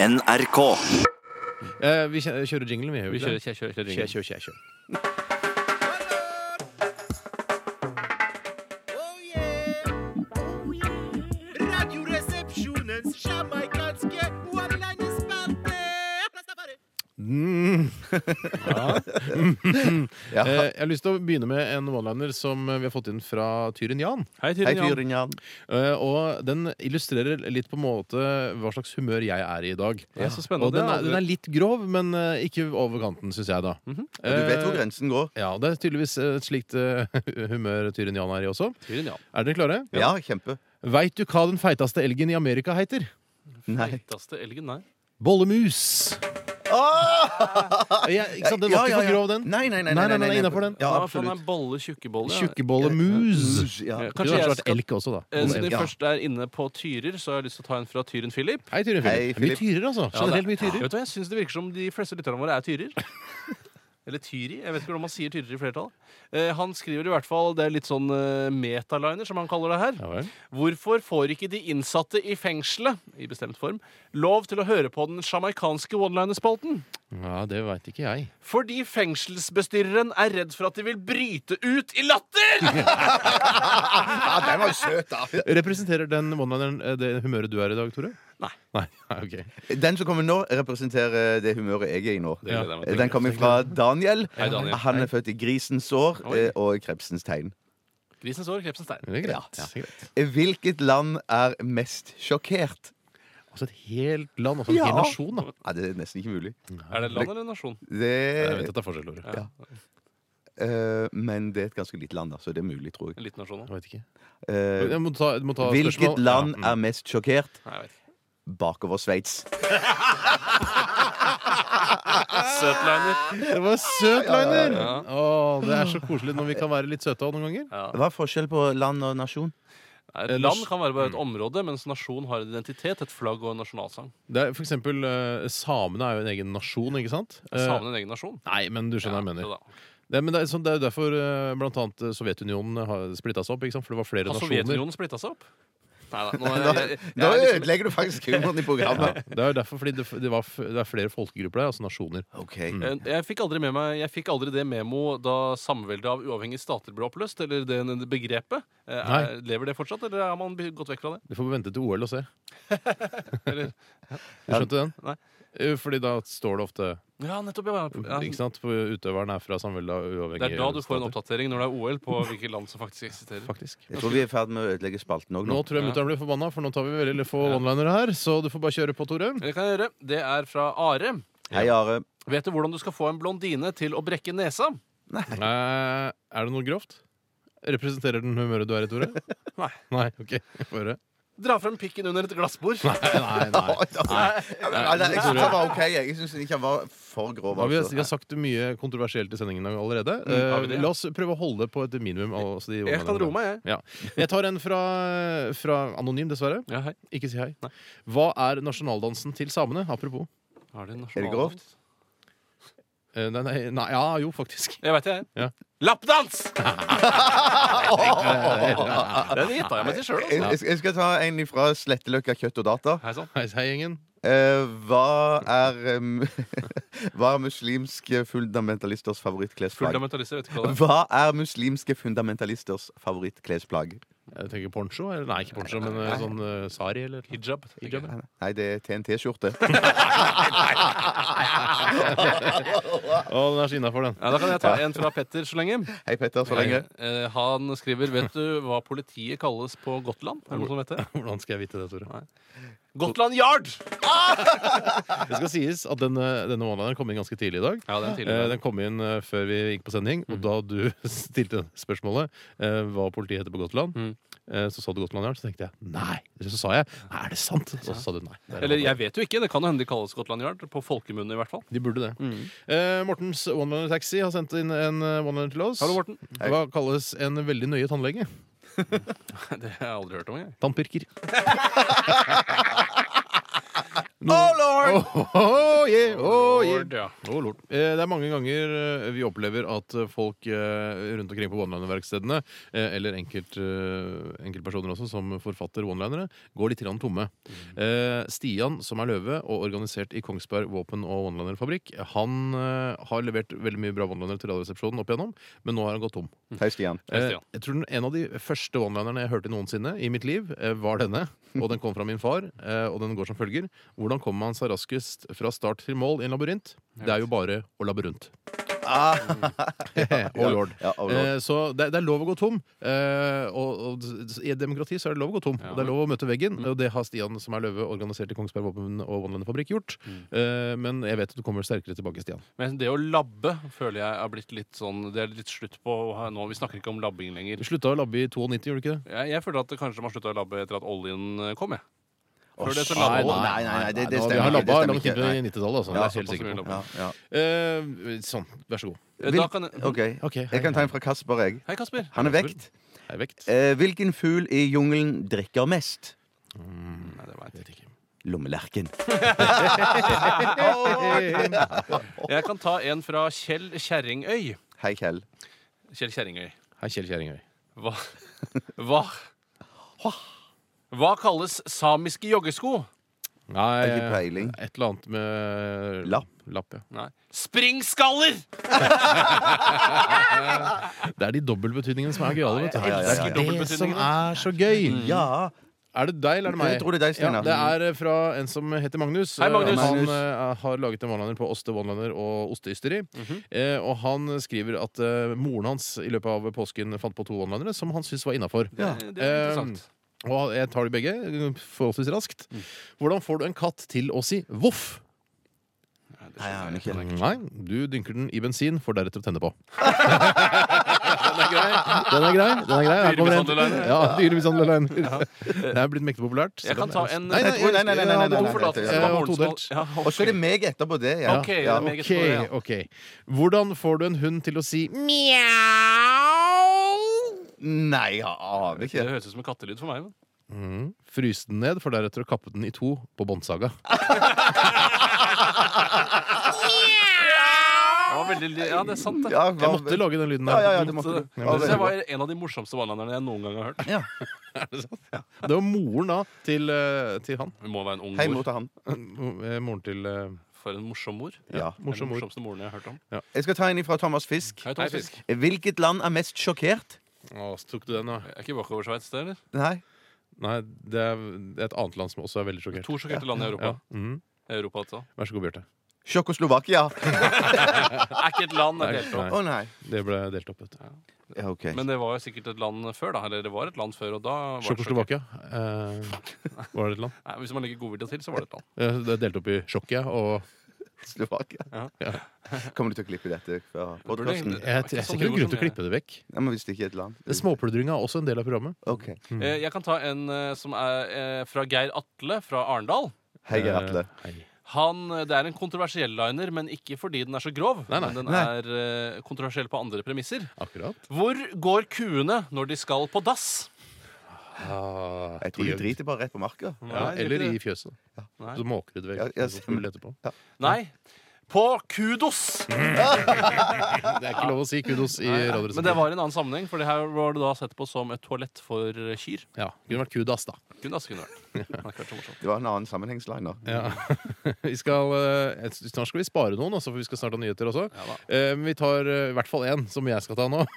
NRK. Eh, vi kjø- kjører jinglen, vi. gjør Vi ikke kjører, det? kjører, kjører, kjører, Kjør, kjører. kjør, kjør, kjør. Radioresepsjonens jamaikanske one-liners-spalte. Mm. Ja. Eh, jeg har lyst til å begynne med en one-liner som eh, vi har fått inn fra Tyrin Jan. Hei, Hei, Tyrian. Tyrin Jan. Eh, og den illustrerer litt på en måte hva slags humør jeg er i i dag. Ja, så spennende. Og den er, Det den er er litt grov, men eh, ikke over kanten, syns jeg, da. Mhm. Ja, Du vet hvor Eh, grensen går. ja, det er tydeligvis et slikt eh, humør Tyrin Jan er i også. Tyrian, ja. Er dere klare? Ja, kjempe. Veit du hva den feiteste elgen i Amerika heter? Nei. Feiteste elgen, nei. Bollemus. Jeg, ikke sant, Den Ja, var ikke ja, for ja. grov, den. Nei, nei, nei. Nei, nei, nei, innenfor den. Ja, Hva faen absolutt. er bolle, tjukkebolle? ja? Tjukkebolle-mus. Ja. Ja, Kanskje Kanskje jeg vært skal elk også, da. Eh, Siden vi Ja. først er inne på tyrer, så har jeg lyst til å ta en fra tyren Philip. Hei, Tyrin Hei, Philip. Det er Mye Philip. tyrer, altså. Ja, Generelt mye det- tyrer. Vet du hva, Jeg syns det virker som de fleste lytterne våre er tyrer. Eller tyri. Jeg vet ikke hvordan man sier tyrer i flertall. Eh, han skriver i hvert fall det er litt sånn eh, metaliner, som han kaller det her. Ja, vel. Hvorfor får ikke de innsatte i fengselet i bestemt form lov til å høre på den sjamaikanske one-liner-spalten? ja, det veit ikke jeg. Fordi fengselsbestyreren er redd for at de vil bryte ut i latter! Ja, den var jo søt, da. Representerer den one-lineren eh, det humøret du er i dag, Tore? Nei. Nei, ok Den som kommer nå, representerer det humøret jeg er i nå. Det gleder jeg meg til. Den kommer fra Daniel. Hei, Daniel. Han er født i grisens år Oi. eh, og Krebsens tegn. Grisens år, krepsens tegn. Det er Ja. greit. Det er greit. Hvilket land er mest sjokkert? Altså et helt land, altså en Ja. hel nasjon, da. Ja, det er nesten ikke mulig. Er det land eller nasjon? Jeg vet Det, at det er forskjell, Tore. Ja. eh, men det er et ganske lite land, da, så det er mulig, tror jeg. En liten nasjon, da? Jeg vet ikke. Eh, Jeg må ta, jeg må ta hvilket spørsmål. land Ja, Mm. er mest sjokkert? Nei, jeg vet ikke. Bakover Sveits. Ah. Søtliner. mm. Det var søt liner! Ja, ja, Å, det er så koselig når vi kan være litt søte også noen ganger. Ja. Hva er forskjell på land og nasjon? Nei, Et land kan være bare et område, mens nasjon har en identitet, et flagg og en nasjonalsang. Det er, for eksempel, eh, samene er jo en egen nasjon, ikke sant? Eh, Samene en egen nasjon. Nei, men du skjønner hva jeg Ja, mener. jo da. Det, men det, er, sånn, det er jo derfor eh, blant annet eh, Sovjetunionen har splitta seg opp, ikke sant? for det var flere Har nasjoner. Sovjetunionen splitta seg opp? Nei da. Nå, er Nå, jeg, jeg, jeg, nå er liksom- ødelegger du faktisk humoren i programmet. Det er jo derfor, fordi det, f- det, var, f- det er flere folkegrupper der, altså nasjoner. Ok, Jeg, jeg fikk aldri med meg Jeg fikk aldri det memo da samveldet av uavhengige stater ble oppløst, eller det, det begrepet. Eh, Er, Nei. lever det fortsatt, eller har man be- gått vekk fra det? Du får vente til OL og se. Eller, Du skjønte den? Nei. Eh, Fordi da står det ofte ja, nettopp. Ja. Ja. Ikke sant? For Utøveren er fra samvelda uavhengig. Det er da du får en oppdatering, når det er OL, på hvilke land som faktisk eksisterer. Faktisk. Jeg tror vi er i ferd med å ødelegge spalten òg Nå nå. tror jeg mutter'n blir forbanna, for nå tar vi veldig få one-linere her. Så du får bare kjøre på, Tore. Det kan jeg gjøre. Det er fra Are. Hei, Are. Vet du hvordan du skal få en blondine til å brekke nesa? Eh, er det noe grovt? Representerer den humøret du er i, Tore? Nei. Nei, ok. Få høre. Dra frem pikken under et glassbord. Nei, Nei, nei, jeg syns han var ok. Jeg syns ikke han var for grov. Ja, vi, har, vi Altså. har sagt mye kontroversielt i sendingen allerede. Mm, har Eh, vi det, ja? La oss prøve å holde det på et minimum. Altså de Jeg kan roe meg, jeg. Ja. Jeg tar en fra, fra Anonym, dessverre. Ja, hei. Ikke si hei. Hva er nasjonaldansen til samene? Apropos. Har de Er det grovt? Eh, nei, nei, nei, ja, jo, faktisk. Jeg veit det, jeg. Ja. Lappdans! Den gjetta jeg meg til sjøl, Jeg, altså. jeg- jeg skal ta en fra Sletteløkka kjøtt og data. Hei sånn. sann. Hei, hei, gjengen. Eh, hva er um, Hva er muslimske fundamentalisters favorittklesplagg? Fundamentalister, vet du hva det er. Hva er muslimske fundamentalisters favorittklesplagg? Jeg tenker poncho. Eller, nei, ikke poncho, men eh, sånn eh, sari eller noe. Hijab. Hijab, ja. Nei, det er TNT-skjorte. Å, den er så innafor, den. Ja, da kan jeg ta en fra Petter så lenge. Hei, Petter, så lenge. Eh, han skriver Vet du hva politiet kalles på Gotland? Er det noen som vet det? Hvordan skal jeg vite det, Tore? Gotland Yard! Det skal sies at denne, denne one-lineren kom inn ganske tidlig i dag. Ja, den Eh, tidligere. Den kom inn eh, før vi gikk på sending, Mm. og da du stilte spørsmålet eh, hva politiet heter på Gotland, Mm. eh, så sa du Gotland Yard, så tenkte jeg nei. Så sa jeg nei, er det sant? Og så sa du nei. Det er Eller one-liner. jeg vet jo ikke. Det kan jo hende de kalles Gotland Yard. På folkemunne, i hvert fall. De burde det. Mm. Eh, Mortens One-Liner Taxi har sendt inn en eh, one-liner til oss. Hallo, Morten. Hva kalles en veldig nøye tannlege? Det har jeg aldri hørt om, jeg. Tannpirker. Oh, lord! Oh, oh, yeah, oh, yeah. Lord, ja. Å, lort. Eh, Det er mange ganger eh, vi opplever at eh, folk eh, rundt omkring på one-liner-verkstedene, eh, eller enkelt, eh, enkeltpersoner også som forfatter one-linere, går litt grann tomme. Eh, Stian, som er løve og organisert i Kongsberg våpen- og one-liner-fabrikk, han eh, har levert veldig mye bra one-linere til Radioresepsjonen opp igjennom, men nå har han gått tom. Hei, Stian. Hei, Eh, Stian. Jeg tror den, En av de første one-linerne jeg hørte noensinne i mitt liv, eh, var denne. Og den kom fra min far, eh, og den går som følger. Hvordan kommer man seg raskest fra start til mål i en labyrint? Det er jo bare å labbe rundt. Ah, oh lord. Ja, oh, lord. Eh, Så det, det er lov å gå tom. Eh, og, og d- I et demokrati så er det lov å gå tom. Og det er lov å møte veggen. Og det har Stian, som er løve, organisert i Kongsberg våpen- og vannlandefabrikk, gjort. Eh, men jeg vet at du kommer sterkere tilbake, Stian. Men det å labbe føler jeg er blitt litt sånn Det er litt slutt på her nå. Vi snakker ikke om labbing Du lenger. slutta å labbe i 92, gjorde du ikke det? Jeg, jeg føler at det kanskje de har slutta å labbe etter at oljen eh, kom, jeg. Åh, Før det så shit. labba Nei, nei, nei, det, det Nå, stemmer vi har ikke, det labba stemmer langt ikke. inn på Nei. 90-tallet, altså. Ja, det er jeg helt såpass mye sikker på. Ja, ja. Eh, sånn, vær så god. Eh, Vil- Da kan jeg, OK. Ok, hei, Jeg kan ta en fra Kasper, jeg. Hei, Kasper. Han er vekt. Hei, vekt. Eh, hvilken fugl i jungelen drikker mest? Nei, det vet jeg. Vet ikke. Lommelerken. ikke. jeg kan ta en fra Kjell Kjerringøy. Hei, Kjell. Kjell Kjerringøy. Hei, Kjell Kjerringøy. Hva Hva Hva kalles samiske joggesko? Nei, eh, Har ikke peiling. et eller annet med eh, Lapp. Lapp, ja. Nei. Springskaller! Det er de dobbeltbetydningene som er gøyale. vet du. Ja, ja, ja, ja, ja. Det er det som er så gøy! Ja. Er det deg eller er det meg? Jeg tror det er deg, Steinar. Ja, det er eh, fra en som heter Magnus. Hei, Magnus. Eh, Han Magnus. eh, har laget en one-liner på Oste one-liner og osteysteri. eh, og han skriver at eh, moren hans i løpet av påsken fant på to one-linere som han syntes var innafor. Ja. Ehm, Det er interessant. Og jeg tar de begge eh, forholdsvis raskt. Hvordan får du en katt til å si voff? Nei, det Nei, jeg aner skjønner jeg. ikke. Nei, du dynker den i bensin for deretter å tenne på. den er grei. Den er grei. Den er grei. Her kommer en- Dyremishandlerline. Ja, dyremishandlerline. Det er blitt mektig populært. så Jeg kan den ta er- en- Nei, nei, Nei, nei, nei, nei, nei, nei, nei, nei. Om forlatelse Ja, var og moren som- todelt. Ja, Og så er det meg etterpå det, ja. Ok, det ja. er meget bra, Ok, ja. ok. Hvordan får du en hund til å si mm? Nei, jeg aner Det ikke. høres ut som en kattelyd for meg. Men. Fryse "Mm, den ned, for deretter å kappe den i to på båndsaga? Ja, veldig, li- ja, det er sant, det. Ja, Jeg hva- måtte lage den lyden Ja, ja, ja, der. du måtte det. Så Det synes jeg var en av de morsomste one-linerne jeg noen gang har hørt. Ja. Det var moren da til, eh, til han. Det må være en ung Hei, mor. mor til han. Eh, Moren til eh, For en morsom mor. Ja. Det er Den morsom mor. morsomste moren jeg har hørt om. Jeg skal ta en fra Thomas Fisk. Hei, Thomas Fisk. Hvilket land er mest sjokkert? Å, så tok du den, da. Er ikke bakover Sveits, det, eller? Nei. Nei, det er, det er et annet land som også er veldig sjokkert. To sjokkerte land i Ja. Europa. Mhm. Europa altså. Vær så god, Bjarte. Tsjekkoslovakia. Er ikke et land, det er Nei, helt opp. Å nei. Det ble delt opp. vet du. Ja, ok. Men det var jo sikkert et land før, da. Eller det var et land før, og da var det sjokkert. Tsjekkoslovakia eh, var det et land. Nei, Hvis man legger godvilja til, så var det et land. Eh, Det er delt opp i Tsjokkia og Slovakia. Ja. Kommer du til å klippe dette fra podkasten? Burde- Jeg, jeg, Det er ikke jeg sånn ser ikke noen grunn humor til å som klippe det vekk. Ja, men hvis det ikke er et land. Småpludringa er også en del av programmet. Ok. Eh, Jeg kan ta en eh, som er eh, fra Geir Atle fra Arendal. Hei, Geir Atle. Eh, hei. Han, det er en kontroversiell liner, men ikke fordi den er så grov. Nei, nei. Men den Nei. er eh, kontroversiell på andre premisser. Akkurat. Hvor går kuene når de skal på dass? Jeg tror de driter bare rett på marka. ja, Nei, det er Eller ikke i det. fjøset. Nei. Så måker du det vekk. Ja, jeg så ser- får du det etterpå. Nei. På kudos! Det er ikke lov å si kudos i Men det Radioresepsjonen. var i en annen sammenheng, for det her var det da sett på som et toalett for eh, kyr. Ja, kunne vært kudas, da. Kudas kunne vært. Det har ikke vært så morsomt. Det var en annen sammenhengsliner. Ja. Vi skal, eh, jeg synes snart skal vi spare noen, altså, for vi skal snart ha nyheter også. Ja da. Eh, Men vi tar eh, i hvert fall én, som jeg skal ta nå.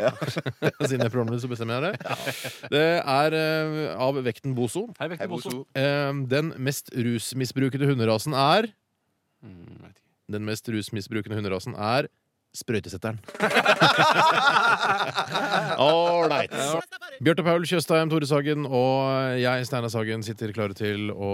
Siden jeg er programleder, så bestemmer jeg det. Det er eh, av vekten Bozo. Hei, Vekter Bosso. Boso. Eh, Den mest rusmisbrukede hunderasen er Mm, vet ikke. Den mest rusmisbrukende hunderasen er sprøytesetteren. Ålreit. Bjarte Paul Tjøstheim, Tore Sagen og jeg, Steinar Sagen, sitter klare til å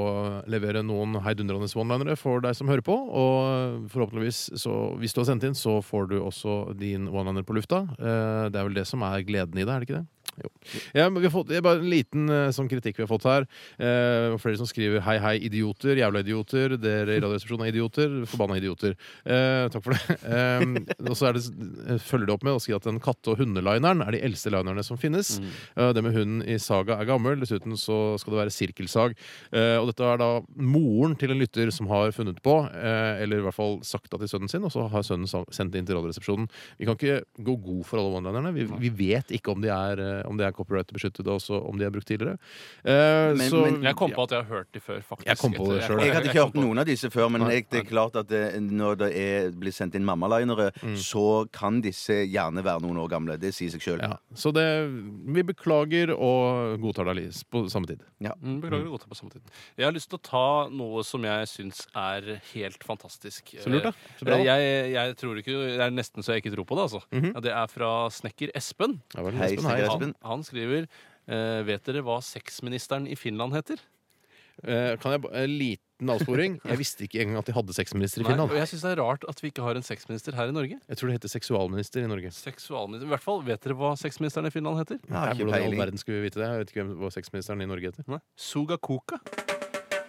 levere noen heidundrende one-linere for deg som hører på. Og forhåpentligvis, så, hvis du har sendt inn, så får du også din one-liner på lufta. Eh, Det er vel det som er gleden i det, er det ikke det? Jo. Ja, men vi har fått, det er bare en liten eh, sånn kritikk vi har fått her. Eh, flere som skriver 'hei, hei, idioter', 'jævla idioter', 'dere i Radioresepsjonen er idioter', 'forbanna idioter'. Eh, takk for det. Eh, og så er det, s- følger det opp med å si at den katte- og hundelineren er de eldste linerne som finnes. Eh, det med hunden i Saga er gammel. Dessuten så skal det være sirkelsag. Eh, og dette er da moren til en lytter som har funnet på, eh, eller i hvert fall sagt det til sønnen sin, og så har sønnen sa- sendt det inn til Radioresepsjonen. Vi kan ikke gå god for alle one-linerne. Vi, vi vet ikke om de er, eh, om de er copyright-beskyttet, og også om de er brukt tidligere. Eh, Men- så, men- Jeg kom på at jeg har hørt de før, faktisk. Jeg kom på det selv. Jeg hadde ikke kom hørt på- noen av disse før, men jeg, det er klart at det, når det er, blir sendt inn mammalinere, så kan disse gjerne være noen år gamle. Det sier seg sjøl. ja, så det, vi beklager og godtar deg Alice, på samme tid. Mm, Beklager å godta på samme tid. Jeg har lyst til å ta noe som jeg syns er helt fantastisk. Så lurt, da. Så bra, Eh, da. Jeg, jeg tror ikke, det er nesten så jeg ikke tror på det. altså. ja, det er fra snekker Espen. Ja, vel, Hei, Espen, snakker Mhm. hei. Espen. Han, han skriver eh, Vet dere hva sexministeren i Finland heter? Eh, kan jeg ba- en liten avsporing? Jeg visste ikke engang at de hadde altså. sexminister i Nei, og Finland. jeg syns det er rart at vi ikke har en sexminister her i Norge. Jeg tror det heter seksualminister i Norge. Seksualminister, i hvert fall, Vet dere hva sexministeren i Finland heter? Ja, ikke Hvordan i all peiling. verden skulle vi vite det? Jeg vet ikke hvem hva sexministeren i Norge heter. Nei. Sugakoka.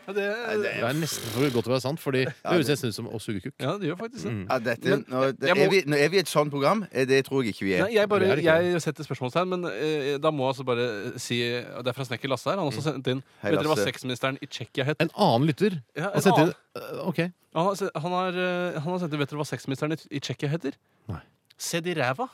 Ja, det, Det er nesten for godt til å være sant, fordi det høres nesten ut som å suge kukk. ja, det gjør faktisk det. Mm. Ja, dette, Men- nå, det, jeg må- er, vi, nå er vi i et sånt program? Eh, Det tror jeg ikke vi er. Nei, jeg, bare, Det er ikke jeg setter spørsmålstegn, men eh, da må jeg altså bare si og Det er fra snekker Lasse her. Han har Mm. også sendt inn Hei, Vet dere hva Lasse. sexministeren i Tsjekkia het? En annen lytter Ja, har en sendt inn annen. Eh, OK. han, har, se- han, har, eh, han har sendt inn Vet dere hva sexministeren i, i Tsjekkia heter? Nei. Sedi ræva.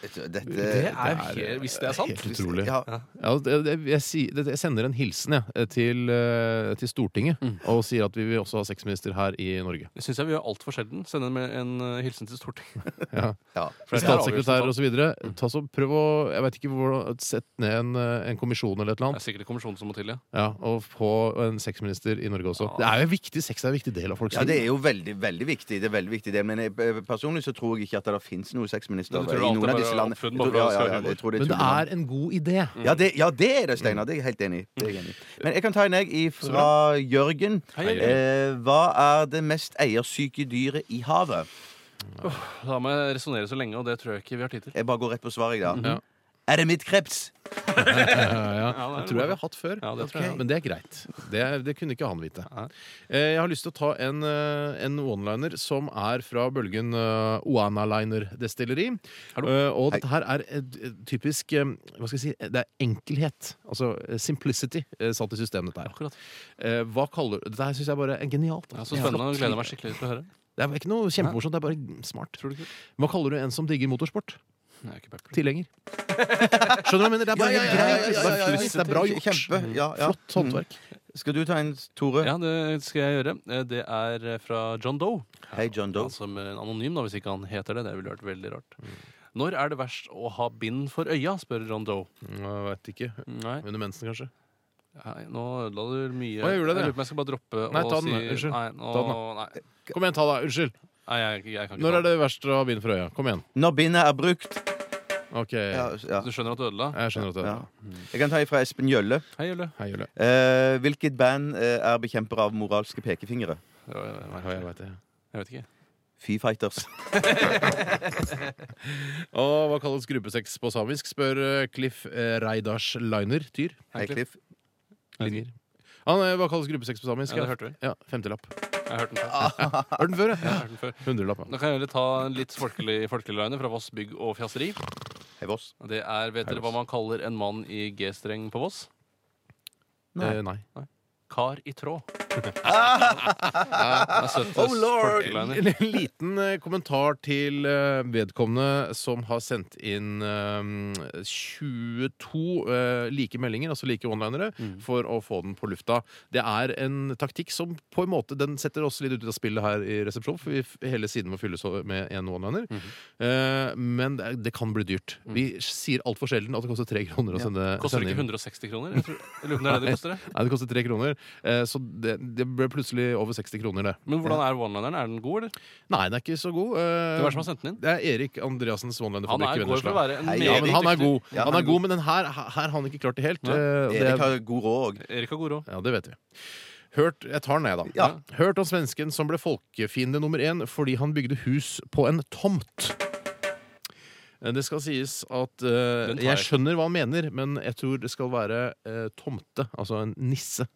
Dette, det Det er, det er- helt- hvis det er sant. helt utrolig. Ja, Ja, det, det, jeg, sier- det, jeg sender en hilsen jeg, eh, til, eh, til Stortinget Mm. og sier at vi vil også ha sexminister her i Norge. Det syns jeg vi gjør altfor sjelden. Sende en, en eh, hilsen til Stortinget. Ja. ja. For det er sånn. Statssekretærer avgjørelsen, osv. Prøv å jeg vet ikke hvordan, Sett ned en, eh, en kommisjon eller et eller annet, Det er sikkert en kommisjon som må til, ja. ja, og få en sexminister i Norge også. Ja. Det er jo en viktig, Sex er en viktig del av folks Ja, det liv. er jo veldig veldig viktig. det er veldig viktig det. Men jeg, eh, personlig så tror jeg ikke at det finnes noen sexminister Men du tror i alt er noen bare av disse landene. Jeg oppfunnet tror- bare for Ja, ja, å skape ja, jeg Mm. tror det er Men det tullemann. er en god idé. ja det, ja, det er det, Steinar. Det er jeg helt enig i. Det er jeg enig i. Men jeg kan ta en jeg i fra Jørgen. Hei, Jørgen. Eh, hva er det mest eiersyke dyret i havet? Da må jeg resonnere så lenge, og det tror jeg ikke vi har tid til. Jeg bare går rett på svaret, jeg, da. Ja. Er det mitt kreps? Ja, ja. det er Det tror jeg vi har hatt før. Ja, det tror jeg. Men det er greit. Det, er, det kunne ikke han vite. Nei. Eh, Jeg har lyst til å ta en, eh, en one-liner som er fra bølgen eh, Oana-liner destilleri. Hallo. Eh, Og dette her er et, et typisk eh, Hva skal jeg si? Det er enkelhet. Altså eh, simplicity eh, satt i systemet dette her. Akkurat. Eh, Hva kaller Dette her syns jeg bare er genialt. Ja, så spennende. og Gleder meg skikkelig til å høre. Det er ikke noe kjempemorsomt, det er bare smart. Tror du ikke? Hva kaller du en som digger motorsport? Nei, ikke Pepper. Tilhenger. Skjønner du hva jeg mener? Det er bare Ja, ja, ja, ja, ja, greit. Det er ja, ja, ja. flust, Det er bra gjort. Kjempe. Ja, ja. Flott håndverk. Skal du ta en, Tore? Ja, det skal jeg gjøre. Eh, Det er eh, fra John Doe. Mm. Hei, John Doe. Han som er en anonym, da, hvis ikke han heter det. Det ville vært veldig rart. Når er det verst å ha bind for øya, spør John Doe. Jeg vet ikke. Nei, Under mensen, kanskje? nei nå ødela du mye. Å, jeg gjorde det. lurer på om jeg skal bare droppe Nei, å ta den, si unnskyld. Nei, nå, Ta den, nei. Kom igjen, ta det. Unnskyld. nei jeg, jeg kan ikke Når ta er det verst å ha bind for øya? Kom igjen. Når bindet er brukt Ok, ja, jeg ja, Du skjønner at du ødela? skjønner at det ja. Jeg kan ta ifra Espen Gjølle. Hei, Jølle. Hei, Julie. Eh, hvilket band eh, er bekjemper av moralske pekefingre? Ja, Jeg Ja, vet- jeg vet det. jeg vet ikke. Fy Fighters. Og hva kalles gruppesex på samisk? Spør eh, Cliff eh, Reidars Liner. Tyr. Hei, Cliff. Linjer. Han, eh, hva kalles gruppesex på samisk? Ja, det hørte vi. Ja, Femtelapp. Jeg har hørt den Ah. før. Hørt den før, Jeg ja? har hørt den før. Hundrelapp. Ja. Da kan jeg heller ta en litt folkelig, folkelig line fra Voss bygg og fjaseri. Hei, Voss. Det er, Vet Hei, dere hva Voss. man kaller en mann i G-streng på Voss? Nei. Eh, nei. Kar i tråd. Det er søtest Oh, folkeliner. En liten eh, kommentar til eh, vedkommende som har sendt inn eh, 22 eh, like meldinger, altså like onlinere, Mm. for å få den på lufta. Det er en taktikk som på en måte den setter oss litt ut av spillet her i resepsjonen, for vi, f- hele siden må fylles over med en onliner. Mm. Eh, men det, er- det kan bli dyrt. Vi sier altfor sjelden at det koster tre kroner å sende, Koster det sende ikke inn. 160 kroner? Jeg, tror, jeg lurer på om det er det det koster. det. Nei, det koster tre kroner. Eh, så det, det ble plutselig over 60 kroner, det. Men hvordan er one-lineren? Er den god, eller? Nei, den er ikke så god. eh, Hvem er det som har sendt den inn? Det er Erik Andreassens Han er One-Liner-fabrikk i god for å Vennesla. være en Hei, Ja, meget men han er dyktig- god, Ja, han er god men den her, her her har han ikke klart det helt. Nei. eh, og Erik Det, har god råd òg. Erik er god råd. ja, det vet vi. Hørt, jeg tar den ned, da. Ja. Hørt om svensken som ble folkefiende nummer én fordi han bygde hus på en tomt. Eh, Det skal sies at eh, Den tar jeg Jeg ikke. skjønner hva han mener, men jeg tror det skal være eh, tomte. Altså en nisse.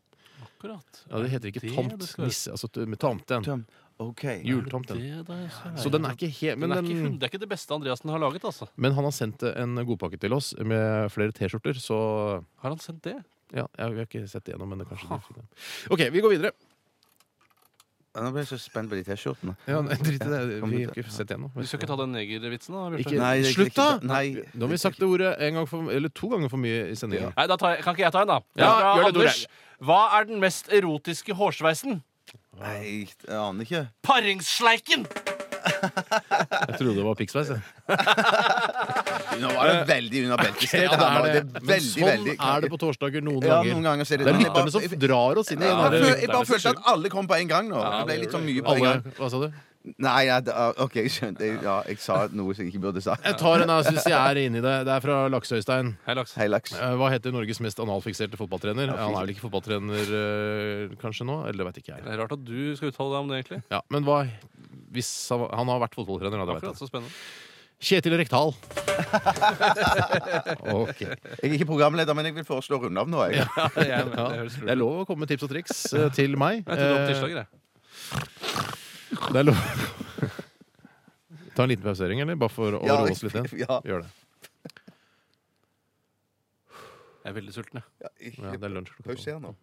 Akkurat. Ja, det heter ikke det tomt. det skal være? Nisse. Altså t- med tamten. Tøm. OK. Juletomten. Det der, så Så den er ikke helt Den men, er ikke den- hund- det er ikke det beste Andreassen har laget, altså. men han har sendt en godpakke til oss med flere T-skjorter, så Har han sendt det? ja, jeg, vi har ikke sett det gjennom, men det kanskje du fikk den. OK, vi går videre. Ja, Nå ble jeg så spent på de T-skjortene. Ja, nei, drit i det. kom Vi ut. har ikke sett det gjennom. Du skal ikke ta den negervitsen, da? Bjarte? Ikke- Nei, det- Slutt, da! Nei. Nå har vi sagt det ordet en gang for, eller to ganger for mye i sendingen. Nei, da tar jeg, Kan ikke jeg ta en, da? Ja, Fra gjør det, Tore. Anders. Hva er den mest erotiske hårsveisen? Nei, jeg aner ikke. Paringssleiken! Jeg trodde det var pikksveis. jeg. Nå var det veldig under beltestedet. Eh, Ja, her nå. det er Det det. er Men veldig, sånn veldig er det på torsdager noen Ja, ganger. noen ganger så er det Det er sånn. lytterne som drar oss inn i den Jeg, der føl- jeg bare følte at alle kom på en gang nå. Det ble litt sånn mye på en Alle, gang. hva sa du? Nei, ja, da, OK, jeg skjønte. Ja, jeg sa noe som jeg ikke burde sagt. Jeg tar en jeg syns jeg er inni det. Det er fra Laksøystein. Hei, Laks. Hei, laks. Eh, Hva heter Norges mest analfikserte fotballtrener? Ja, Han er vel ikke fotballtrener eh, kanskje nå? Eller det veit ikke jeg. Det er rart at du skal uttale deg om det, egentlig. Ja, men hva hvis han, var- han har vært fotballtrener, da. det vet Akkurat, så spennende. jeg. Kjetil Rekdal. Ok. Jeg er ikke programleder, men jeg vil foreslå å runde av nå. Jeg. Ja, jeg, er med. Ja, det høres det lurt er ut. lov å komme med tips og triks eh, til meg. Jeg trodde det var på Eh, tirsdager, jeg. Det er lov Ta en liten pausering, eller? Bare for å Ja, roe oss litt igjen. ja. Gjør det. Jeg er veldig sulten, jeg. Ja, Ja, det er lunsj klokka Pauser nå.